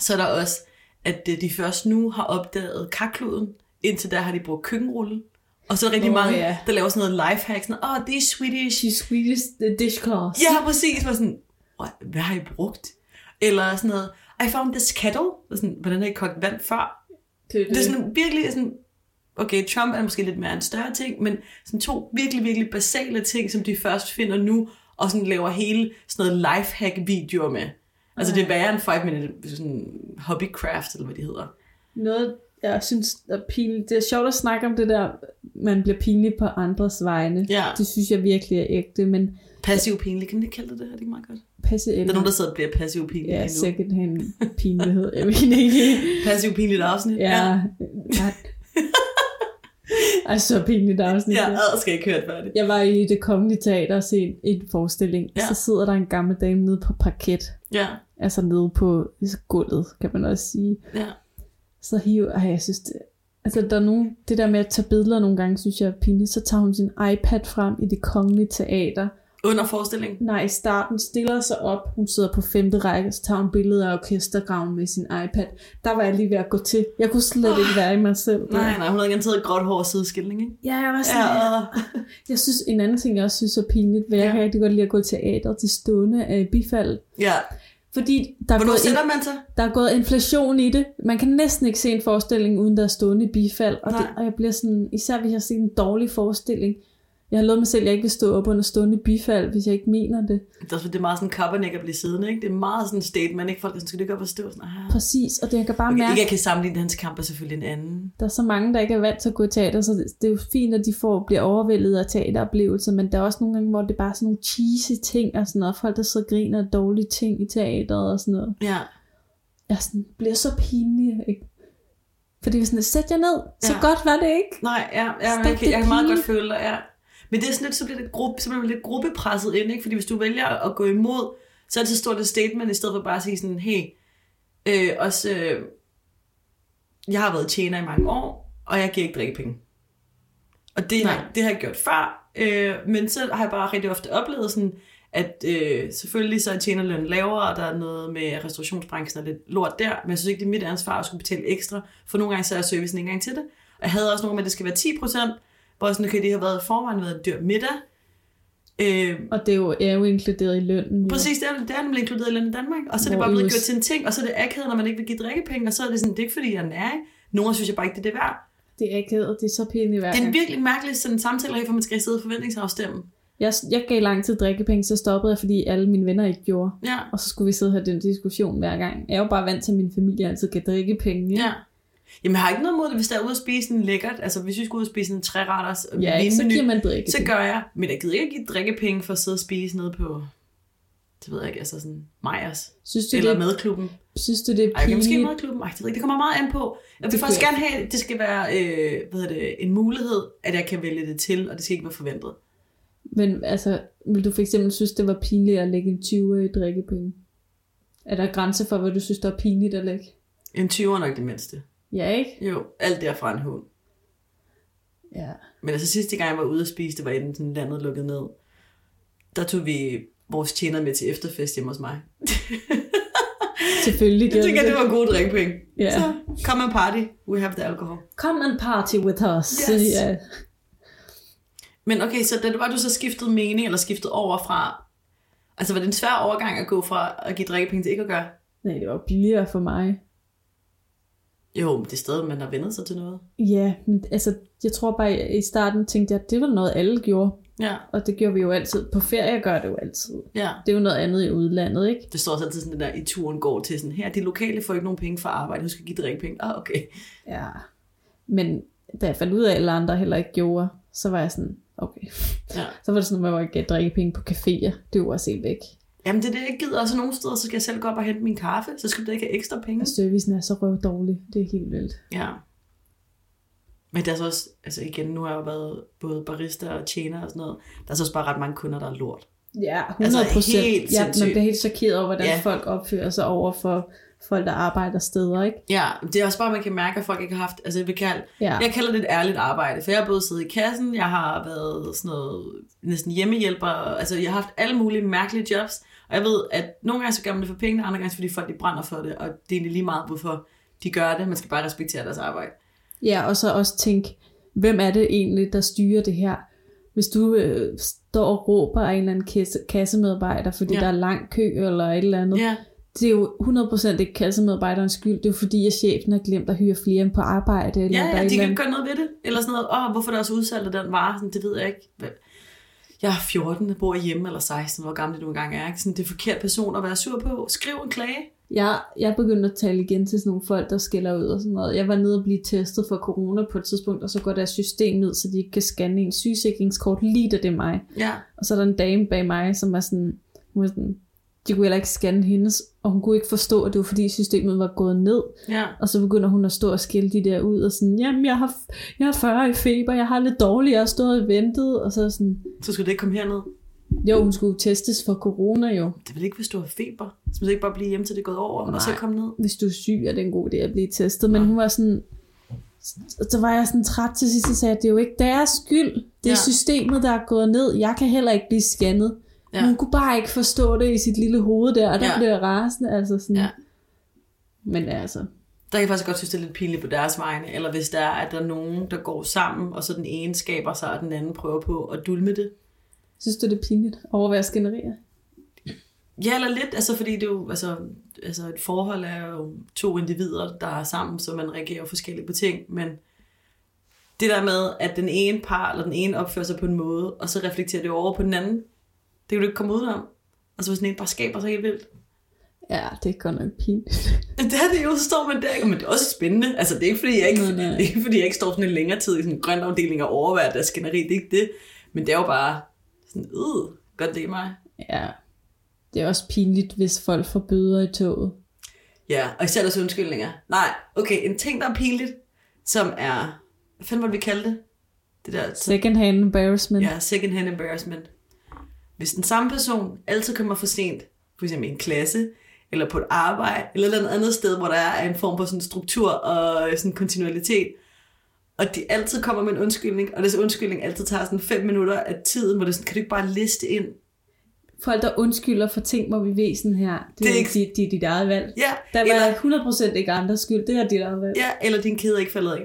B: så er der også, at øh, de først nu har opdaget karkluden. Indtil der har de brugt køkkenrulle. Og så er der rigtig
A: Åh,
B: oh, mange,
A: ja.
B: der laver sådan noget lifehack. Sådan, åh, oh, det er Swedish.
A: She's Swedish uh, dishcloth.
B: Ja, præcis. Var sådan, "Åh, hvad har I brugt? Eller sådan noget, I found this kettle. Og Sådan, Hvordan har I kogt vand før? Det er sådan virkelig sådan, okay, Trump er måske lidt mere en større ting, men sådan to virkelig, virkelig basale ting, som de først finder nu, og sådan laver hele sådan noget lifehack-videoer med. Altså det er værre end 5 minute sådan hobbycraft, eller hvad det hedder.
A: noget, jeg synes er pinligt. Det er sjovt at snakke om det der, man bliver pinlig på andres vegne.
B: Ja.
A: Det synes jeg virkelig er ægte, men
B: Passiv pinlig, kan man ikke kalde det det her? Det er ikke meget godt.
A: passe
B: Der er
A: eller
B: nogen, der sidder og bliver passiv pinlig
A: ja,
B: lige nu.
A: second hand pinlighed. Jeg mener ikke.
B: Passiv pinligt afsnit.
A: Ja. Ej. Ej, så pinligt afsnit.
B: Ja,
A: der.
B: ad skal ikke høre det færdigt.
A: Jeg var i det kongelige teater og se en, en forestilling.
B: Ja.
A: Så sidder der en gammel dame nede på parket.
B: Ja,
A: Altså nede på gulvet, kan man også sige.
B: ja.
A: så hiver, ej, jeg synes det, altså der er nogen, det der med at tage billeder nogle gange, synes jeg er pinligt, så tager hun sin iPad frem i det kongelige teater,
B: Under forestillingen.
A: nej, i starten stiller sig op, hun sidder på femte række, så tager hun billeder af orkestergraven med sin iPad, der var jeg lige ved at gå til, jeg kunne slet ikke være i mig selv,
B: Nej, nej, hun havde garanteret gråt hår og sideskilling, ikke?
A: Ja, jeg var
B: Ja,
A: sådan, ja.
B: og-
A: jeg synes en anden ting, jeg også synes er pinligt, hvad jeg
B: Ja.
A: kan rigtig godt lide at gå i teater til stående af bifald,
B: ja.
A: fordi der er,
B: Hvornår
A: gået,
B: sætter man sig?
A: der er gået inflation i det. Man kan næsten ikke se en forestilling, uden der er stående bifald. Og, det,
B: Nej.
A: og jeg bliver sådan, især hvis jeg har set en dårlig forestilling. Jeg har lovet mig selv, at jeg ikke vil stå op under stående bifald, hvis jeg ikke mener det.
B: Det er, også- det er meget sådan Kaepernick at blive siddende, ikke? Det er meget sådan en statement, ikke? Folk er sådan, skal du ikke op og stå? Sådan, ah.
A: Præcis, og det, jeg kan bare
B: okay,
A: mærke,
B: ikke, jeg kan sammenligne hans kamp er selvfølgelig en anden.
A: der er så mange, der ikke er vant til at gå i teater, så det, det er jo fint, at de får, bliver overvældet af teateroplevelser, men der er også nogle gange, hvor det er bare sådan nogle cheesy ting og sådan noget, folk der så griner af dårlige ting i teateret og sådan noget.
B: Ja.
A: Jeg er sådan, bliver så pinlig, ikke? Fordi vi er sådan, sæt jer ned, så
B: Ja.
A: godt var det ikke.
B: Nej, ja, ja men
A: Stop
B: jeg, kan,
A: det
B: jeg kan meget
A: pige.
B: godt føle dig, ja. Men det er sådan lidt, så bliver det gruppe, så bliver man lidt gruppepresset ind, ikke? Fordi hvis du vælger at gå imod, så er det så stort et statement, i stedet for bare at sige sådan, hey, øh, også, øh, jeg har været tjener i mange år, og jeg giver ikke drikkepenge. Og det,
A: Nej.
B: har, det har jeg gjort før, øh, men så har jeg bare rigtig ofte oplevet sådan, at øh, selvfølgelig så er tjenerlønnen lavere, og der er noget med restaurationsbranchen og lidt lort der, men jeg synes ikke, det er mit ansvar at skulle betale ekstra, for nogle gange så er servicen ikke engang til det. Og jeg havde også nogle med, at det skal være 10%, hvor jeg sådan, okay, det har været i forvejen været en dyr middag. Øh,
A: Og det er jo, er jo inkluderet i lønnen. jo.
B: Præcis, det er, det er nemlig inkluderet i løn i Danmark. Og så er det
A: Hvor
B: bare
A: i
B: blevet
A: US
B: gjort til en ting, og så er det akavet, når man ikke vil give drikkepenge, og så er det sådan, det er ikke fordi, jeg er nær, ikke? Nogle synes jeg bare ikke, det er det værd.
A: Altså, Det er akavet, det er så pænt i hver
B: Det er en
A: gang.
B: virkelig mærkelig sådan samtale, at have, for man skal sidde og forventningsafstemme.
A: Jeg, jeg gav lang tid drikkepenge, så stoppede jeg, fordi alle mine venner ikke gjorde.
B: Ja,
A: Og så skulle vi sidde og have den diskussion hver gang. Jeg er jo bare vant til, at min familie altid gav drikkepenge.
B: ja. Jamen, jeg har ikke noget mod det, hvis der er ude at spise en lækkert. Altså, hvis vi skulle ud og spise en træretters
A: ja ikke? så
B: vinmenu,
A: giver man drikkepenge.
B: så gør jeg. Men jeg gider ikke give drikkepenge for at sidde og spise nede på, det ved jeg ikke, altså sådan Majers.
A: Synes du, det,
B: Eller
A: er-
B: madklubben.
A: synes du, det er
B: Ej, okay, måske
A: pinligt?
B: madklubben. Ej, det, ved jeg ikke. det kommer meget an på. Jeg vil
A: Det
B: faktisk
A: kunne
B: gerne have, at det skal være øh, hvad hedder det, en mulighed, at jeg kan vælge det til, og det skal ikke være forventet.
A: Men altså, vil du for eksempel synes, det var pinligt at lægge en 20 i drikkepenge? Er der grænser for, hvad du synes, der er pinligt eller ikke?
B: En 20'er nok det mindste.
A: Ja, ikke?
B: Jo, alt derfra en hund.
A: Ja.
B: Men altså sidste gang, jeg var ude at spise, det var inden sådan landet lukket ned. Der tog vi vores tjener med til efterfest hjemme hos mig.
A: Selvfølgelig
B: Jeg
A: gør
B: tænker,
A: vi
B: det var gode drinkpenge.
A: Ja.
B: Så, come and party. We have the alcohol.
A: Come and party with us.
B: Yes.
A: Ja.
B: Men okay, så da det var, du så skiftede mening, eller skiftede over fra... Altså, var det en svær overgang at gå fra at give drikkepenge til ikke at gøre?
A: Nej, det var billigere for mig.
B: Jo, men det er stadig, man har vendet sig til noget.
A: Ja, men altså, jeg tror bare, i i starten tænkte jeg, at det var noget, alle gjorde.
B: Ja,
A: Og det gjorde vi jo altid. På ferie gør det jo altid.
B: ja.
A: Det er jo noget andet i udlandet, ikke?
B: Det står også altid sådan, det der, i turen går til sådan, her, de lokale får ikke nogen penge for arbejde, du skal give drikkepenge. Ah, okay.
A: Ja. Men da jeg fandt ud af, at alle andre heller ikke gjorde, så var jeg sådan, okay.
B: Ja.
A: Så var det sådan, at man ikke gav drikkepenge på caféer. Det var også helt væk.
B: Jamen, det er det, jeg gider. Og så nogle steder, så skal jeg selv gå op og hente min kaffe, så skal du da ikke have ekstra penge.
A: Og servicen er så røvdårlig. Det er helt vildt.
B: Ja. Men der er så også, altså igen, nu har jeg jo været både barista og tjener og sådan noget. Der er så også bare ret mange kunder, der er lort.
A: Ja, 100
B: Altså,
A: procent.
B: helt
A: ja, man
B: sindssygt.
A: bliver helt chokeret over, hvordan
B: Ja.
A: ja. folk opfører sig over for folk, der arbejder steder, ikke?
B: Ja, det er også bare, man kan mærke, at folk ikke har haft, altså jeg vil kalde,
A: Ja.
B: jeg kalder det et ærligt arbejde, for jeg har både siddet i kassen, jeg har været sådan noget, næsten hjemmehjælper, altså jeg har haft alle mulige mærkelige jobs, og jeg ved, at nogle gange så gør man det for penge, andre gange fordi folk de brænder for det, og det er egentlig lige meget, hvorfor de gør det, man skal bare respektere deres arbejde.
A: Ja, og så også tænke, hvem er det egentlig, der styrer det her? Hvis du øh, står og råber af en eller anden kasse, kassemedarbejder, fordi
B: Ja.
A: ja. der er lang kø eller et eller andet, ja.
B: Ja,
A: det er jo 100% ikke kassemedarbejderens skyld. Det er jo fordi, at chefen har glemt at hyre flere end på arbejde. Eller der
B: ja,
A: er
B: ja
A: et
B: de
A: eller andet.
B: kan ikke gøre noget ved det, eller sådan noget, åh, hvorfor er der også udsalg af den vare, sådan, det ved jeg ikke. Hvad- Jeg er 14, jeg bor hjemme, eller 16, hvor gammel det nu engang er, ikke? Sådan, det er en forkert person at være sur på, skriv en klage.
A: Jeg, jeg begyndte at tale igen til sådan nogle folk, der skiller ud og sådan noget. Jeg var nede og blive testet for corona på et tidspunkt, og så går deres system ned, så de ikke kan scanne en sygesikringskort lige da det er mig.
B: Ja,
A: Og så er der en dame bag mig, som er sådan, hun er sådan, de kunne heller ikke scanne hendes, og hun kunne ikke forstå, at det var fordi systemet var gået ned.
B: ja.
A: Og så begynder hun at stå og skille de der ud, og sådan, jamen jeg har, jeg har 40 i feber, jeg har lidt dårligt, jeg har stået og ventet. Og så er jeg sådan,
B: Så skulle det ikke komme herned.
A: jo hun skulle testes for corona jo.
B: Det vil ikke, hvis du har feber. Så må du ikke bare blive hjemme, til det er gået over, Nej. og så
A: Nej.
B: komme ned.
A: Hvis du er syg, er det en god idé at blive testet. Men hun var sådan, så- så var jeg sådan træt til sidst, og sagde, at det er jo ikke deres skyld. Det er
B: Ja.
A: ja. systemet, der er gået ned. Jeg kan heller ikke blive scannet.
B: Ja.
A: Ja. Hun kunne bare ikke forstå det i sit lille hoved der, og der
B: Ja.
A: ja. blev jeg rasende. Altså sådan.
B: Ja.
A: Ja. Men altså,
B: Der kan jeg faktisk godt synes, det er lidt pinligt på deres vegne. Eller hvis der er, at der er nogen, der går sammen, og så den ene skaber sig, og den anden prøver på at dulme det.
A: synes du det er pinligt over, hvad jeg skænderier?
B: Ja, eller lidt, altså fordi det er jo, altså, altså et forhold er jo to individer, der er sammen, så man reagerer jo forskelligt på ting, men det der med, at den ene par eller den ene opfører sig på en måde, og så reflekterer det over på den anden, det kan du ikke komme udenom. Altså hvis den ene bare skaber sig helt vildt.
A: Ja, det er godt nok pinligt.
B: Det er det jo, så står man der, men det er også spændende. Altså, det er ikke, fordi jeg ikke,
A: Nej, nej.
B: det er ikke, fordi jeg ikke står sådan en længere tid i sådan en grøn afdeling og overværer deres skænderi. Det er ikke det. Men det er jo bare sådan, øh, godt det er mig.
A: Ja. Det er også pinligt, hvis folk får bøder i toget.
B: Ja, og især deres undskyldninger. Nej, okay, en ting, der er pinligt, som er, hvad fanden måtte vi kalde det? Det der,
A: Second hand embarrassment.
B: ja, second hand embarrassment. Hvis den samme person altid kommer for sent, for eksempel i en klasse, eller på et arbejde, eller et eller andet andet sted, hvor der er en form for sådan struktur og sådan kontinuitet, og de altid kommer med en undskyldning, og deres undskyldning altid tager sådan fem minutter af tiden, hvor det er sådan, kan du ikke bare liste ind?
A: Folk, der undskylder for ting, hvor vi ved sådan her. Det,
B: Det er
A: det er ikke dit, dit, dit eget valg.
B: Ja,
A: Der
B: eller-
A: var 100% ikke andres skyld. Det er dit eget valg.
B: Ja, eller din kæde er ikke faldet af.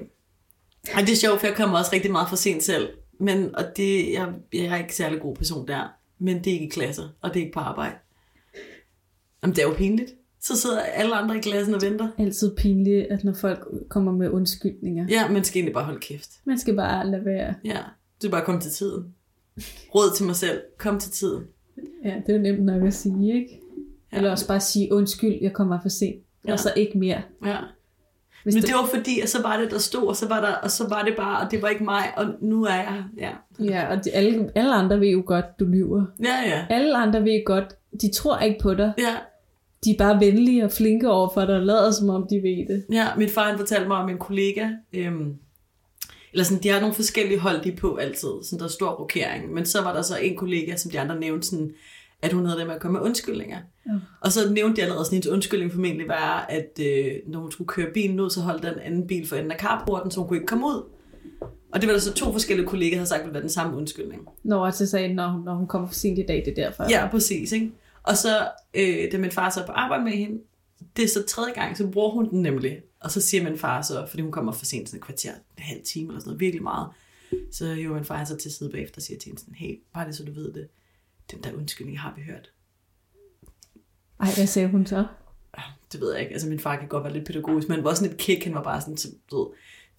B: Og det er sjovt, for jeg kommer også rigtig meget for sent selv. Men, og det, jeg, jeg er ikke særlig god person der. Men det er ikke i klasser, og det er ikke på arbejde. Jamen, det er jo pinligt. Så sidder alle andre i klassen og venter.
A: Altid pinligt, at når folk kommer med undskyldninger. Ja.
B: Ja, man skal egentlig bare holde kæft.
A: Man skal bare lade være.
B: Ja, det er bare at komme til tiden. Råd til mig selv. Kom til tiden.
A: Ja, det er jo nemt nok at sige, ikke?
B: Ja.
A: Ja. Eller også bare sige, undskyld, jeg kommer for sent. Ja.
B: Ja.
A: Og så ikke mere.
B: Ja.
A: Hvis
B: Men
A: det-
B: det var fordi, at så var det, der stod, og så var, der, og så var det bare, og det var ikke mig, og nu er jeg her. Ja,
A: Ja, og de, alle, alle andre ved jo godt, du lyver.
B: ja, ja.
A: Alle andre ved godt, de tror ikke på dig.
B: ja.
A: De er bare venlige og flinke over for dig og lader som om, de ved det.
B: Ja, min far han fortalte mig om en kollega, øhm, eller sådan, de har nogle forskellige hold, de er på altid, sådan der er stor rokering, men så var der så en kollega, som de andre nævnte sådan, at hun havde det med at komme med undskyldninger.
A: Ja.
B: Og så nævnte de allerede, at hendes undskyldning formentlig var, at øh, når hun skulle køre bilen ud, så holdt der en anden bil for enden af carporten, så hun kunne ikke komme ud. Og det var der så to forskellige kollegaer, der havde sagt, at det var den samme undskyldning.
A: Når jeg til sagde, når, når hun kommer for sent i dag, det er derfor.
B: Ja, præcis. Ikke? Og så, øh, da min far så er på arbejde med hende, det er så tredje gang, så bruger hun den nemlig. Og så siger min far så, fordi hun kommer for sent sådan et kvarter, en halv time eller sådan noget, virkelig meget. Så jo, min far han så til side bagefter og siger til hende sådan, hey, bare det så du ved det, den der undskyldning har vi hørt.
A: Ej, hvad sagde hun så?
B: Ah, Det ved jeg ikke, altså min far kan godt være lidt pædagogisk, men han var sådan et kick, han var bare sådan, så, du ved,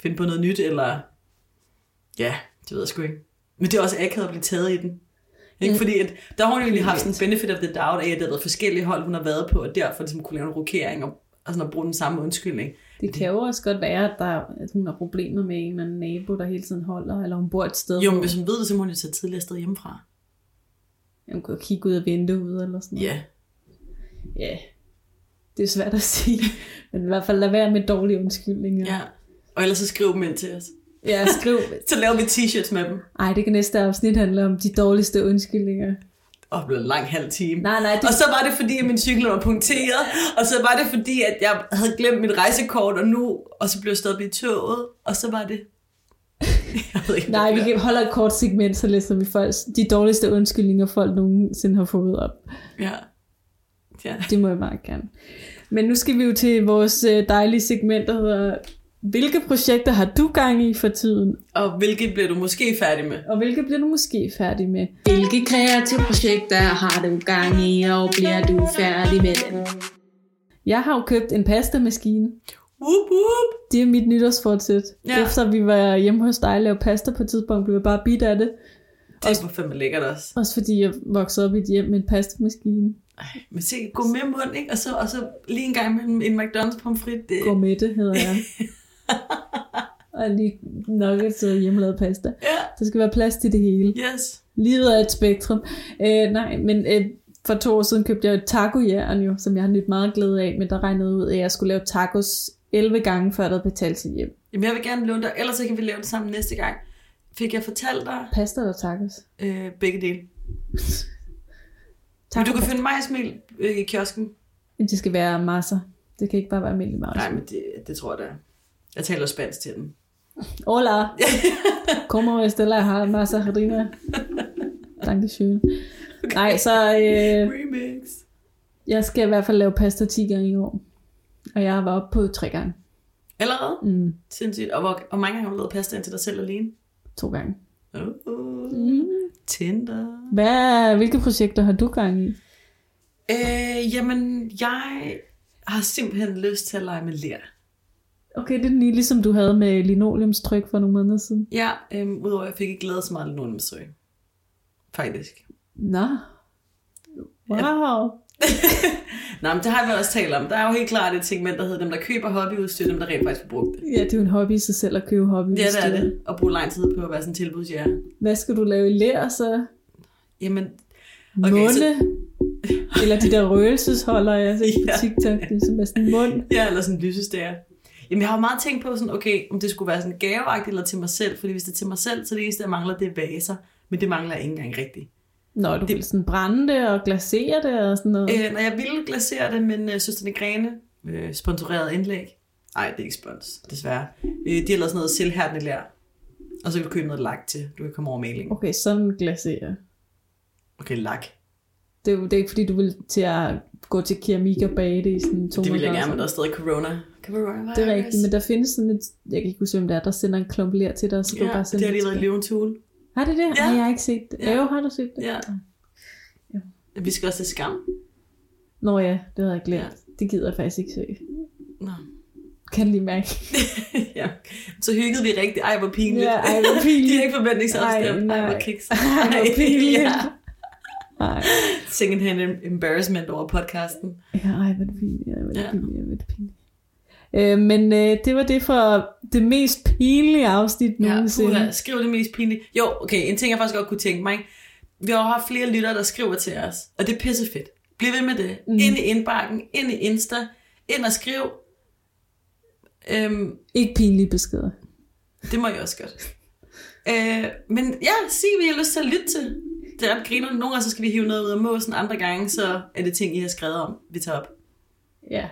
B: finde på noget nyt, eller ja, det ved jeg sgu ikke. Men det er også akavet at blive taget i den. Ikke?
A: Ja.
B: Fordi at, der har hun egentlig haft sådan en benefit of the doubt af, at det har været forskellige hold, hun har været på, og derfor ligesom kunne lave en rokering og, og sådan at bruge den samme undskyldning.
A: Det kan jo også godt være, at, der, at hun har problemer med en eller anden nabo, der hele tiden holder, eller hun bor et sted.
B: Jo,
A: hvor-
B: men hvis hun ved det, så må hun jo tage tidligere sted hjemmefra.
A: Hun kan jo kigge ud af vinduet eller sådan noget.
B: Ja,
A: Ja. Det er svært at sige. Men i hvert fald lad være med dårlige undskyldninger.
B: ja. Og ellers så skriv dem ind til os.
A: ja skriv.
B: Så laver vi t-shirts med dem.
A: Ej, det kan næste afsnit handle om de dårligste undskyldninger.
B: Og det blev en lang halv time.
A: Nej, nej, det,
B: Og så var det fordi, at min cykel var punkteret, og så var det fordi, at jeg havde glemt mit rejsekort, og nu, og så blev jeg stoppet i toget, og så var det... Jeg ved ikke,
A: nej, vi
B: hvad det
A: kan holde et kort segment, så læser vi folk, de dårligste undskyldninger, folk nogensinde har fået op.
B: bliver. Ja. ja.
A: Det må jeg meget gerne. Men nu skal vi jo til vores øh, dejlige segment, der hedder, hvilke projekter har du gang i for tiden?
B: Og hvilket blev du måske færdig med?
A: Og hvilke bliver du måske færdig med?
C: Hvilke kreative projekter har du gang i, og bliver du færdig med dem?
A: Jeg har jo købt en pastamaskine.
B: Whoop, whoop.
A: Det er mit nytårsfortsæt.
B: Ja.
A: Ja. Efter vi var hjemme hos dig og lavede pasta på et tidspunkt, blev jeg bare bidt af det.
B: Det var fandme lækkert også.
A: Også fordi jeg voksede op i et hjem med en pastamaskine.
B: Men se, gå med mund, ikke? Og så, og så lige en gang med en McDonald's pomfrit. Det...
A: Gå med det, hedder jeg. og lige nuggets og hjemmelavet pasta.
B: Ja,
A: Der skal være plads til det hele.
B: yes.
A: Livet er et spektrum. Øh, nej, men øh, for to år siden købte jeg et tacohjern jo, som jeg har nyt meget glæde af, men der regnede ud, at jeg skulle lave tacos 11 gange, før der havde betalt sit hjem.
B: Jamen, jeg vil gerne låne dig, ellers så kan vi lave det sammen næste gang. Fik jeg fortalt dig
A: Pasta eller tacos?
B: øh, begge dele? Men du kan finde mig smil øh, i kiosken.
A: Men det skal være masser. Det kan ikke bare være almindelig masser.
B: Nej, men det, det tror jeg da. Jeg taler spansk til dem.
A: Hola. Como Estela har masser af harina. Dankeschön. Nej, så øh,
B: Remix.
A: jeg skal i hvert fald lave pasta 10 gange i år. Og jeg var oppe på 3 gange.
B: Allerede?
A: Mm,
B: Sindssygt. Og hvor, hvor mange gange har du lavet pasta ind til dig selv alene?
A: to gange.
B: Oh, oh.
A: Mm.
B: Tinder.
A: Hvad, hvilke projekter har du gang i?
B: Øh, jamen, jeg har simpelthen lyst til at lege med lær.
A: Okay, det er den lige ligesom du havde med linoleumstryk for nogle måneder siden.
B: Ja, øhm, udover at jeg fik ikke glædet så meget af nogen besøg. Faktisk.
A: Nå. Wow.
B: Nej, men det har vi også talt om. Der er jo helt klart et segment, der hedder dem, der køber hobbyudstyr, dem, der rent faktisk får brugt det.
A: Ja, det er jo en hobby i sig selv at købe hobby.
B: Ja, det er det. Og bruge lang tid på at være sådan en tilbudsjære.
A: Hvad skal du lave i lær så?
B: Jamen,
A: Okay,
B: Okay,
A: Munde?
B: så-
A: Så... Eller de der røgelsesholder, jeg har set på
B: Ja.
A: TikTok, det er som er sådan en mund.
B: Ja, eller sådan en lysestager. Jamen, jeg har jo meget tænkt på sådan, okay, om det skulle være sådan gaveagtigt eller til mig selv, fordi hvis det er til mig selv, så det eneste, jeg mangler, det er vaser, men det mangler jeg ikke engang rigtigt.
A: Nå, du
B: Det-
A: det... vil sådan brænde det og glasere det og sådan noget. Øh...
B: Øh, når jeg ville glasere det, men øh, søsterne Grene øh, sponsorerede indlæg. Nej, det er ikke spons, desværre. Øh, de har lavet sådan noget selvhærdende lær, og så kan du købe noget lak til. Du kan komme over malingen.
A: Okay, sådan glasere.
B: Okay, lak.
A: Det er jo det er ikke fordi, du vil til at gå til keramik og bage det i sådan 200
B: Det vil jeg gerne,
A: grader.
B: men der er stadig corona. Corona
A: Det er rigtigt, men der findes sådan et, jeg kan ikke huske, hvem det er, der sender en klump lær til dig, og så kan
B: Ja,
A: du bare
B: det
A: sende
B: har lige været i
A: tilbage.
B: Livens Hule.
A: Har det det?
B: Ja.
A: Ja. Ej, jeg har ikke set det.
B: Ja.
A: Ja. Jo, har du set det?
B: Ja.
A: Ja.
B: Vi skal også til skam.
A: Nå ja, det havde jeg glemt. Det gider jeg faktisk ikke se.
B: Nå.
A: Kan lige mærke.
B: ja. Så hyggede vi rigtig. Ej, hvor pinligt.
A: Ja, ej, hvor pinligt.
B: De er ikke forventningsafstemt.
A: Ej,
B: Ej,
A: nej.
B: hvor kiks.
A: Ej, hvor pinligt.
B: ja.
A: Ej.
B: Second hand embarrassment over podcasten.
A: Ja, ej, hvor er det pinligt, ej, hvor er det
B: Ja.
A: pinligt, ej, hvor er det pinligt. Øh, men øh, det var det for det mest pinlige afsnit
B: Ja,
A: nogensinde.
B: puha, skriv det mest pinlige. Jo, okay, en ting jeg faktisk godt kunne tænke mig. ikke? Vi har jo haft flere lyttere, der skriver til os, og det er pisse fedt. Bliv ved med det. Mm. Ind i indbakken, ind i Insta, ind og skriv. Øhm,
A: Ikke pinlige beskeder.
B: det må jeg også godt. Øh, men ja, sig, hvad I har lyst til at lytte til. det er ret griner. Nogle gange så skal vi hive noget ud af måsen, andre gange så er det ting, I har skrevet om, vi tager op.
A: Ja.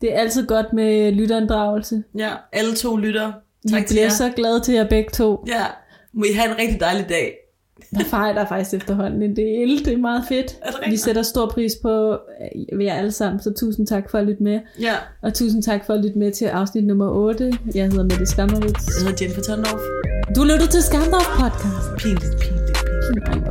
A: Det er altid godt med lytterinddragelse.
B: Ja, alle to lytter.
A: Vi
B: Tak til
A: bliver
B: jer.
A: så glade til jer begge to.
B: Ja, må I have en rigtig dejlig dag.
A: Der fejler faktisk efterhånden en del. Det er meget fedt.
B: Er det
A: Vi
B: rigtigt?
A: sætter stor pris på øh, jer alle sammen, så tusind tak for at lytte med.
B: Ja,
A: Og tusind tak for at lytte med til afsnit nummer 8. Jeg hedder Mette Skammerwitz.
B: jeg hedder Jennifer Tondorf.
A: Du lytter til Skamdorf Podcast.
B: Pinligt, pinligt, pinligt.
A: Pinligt.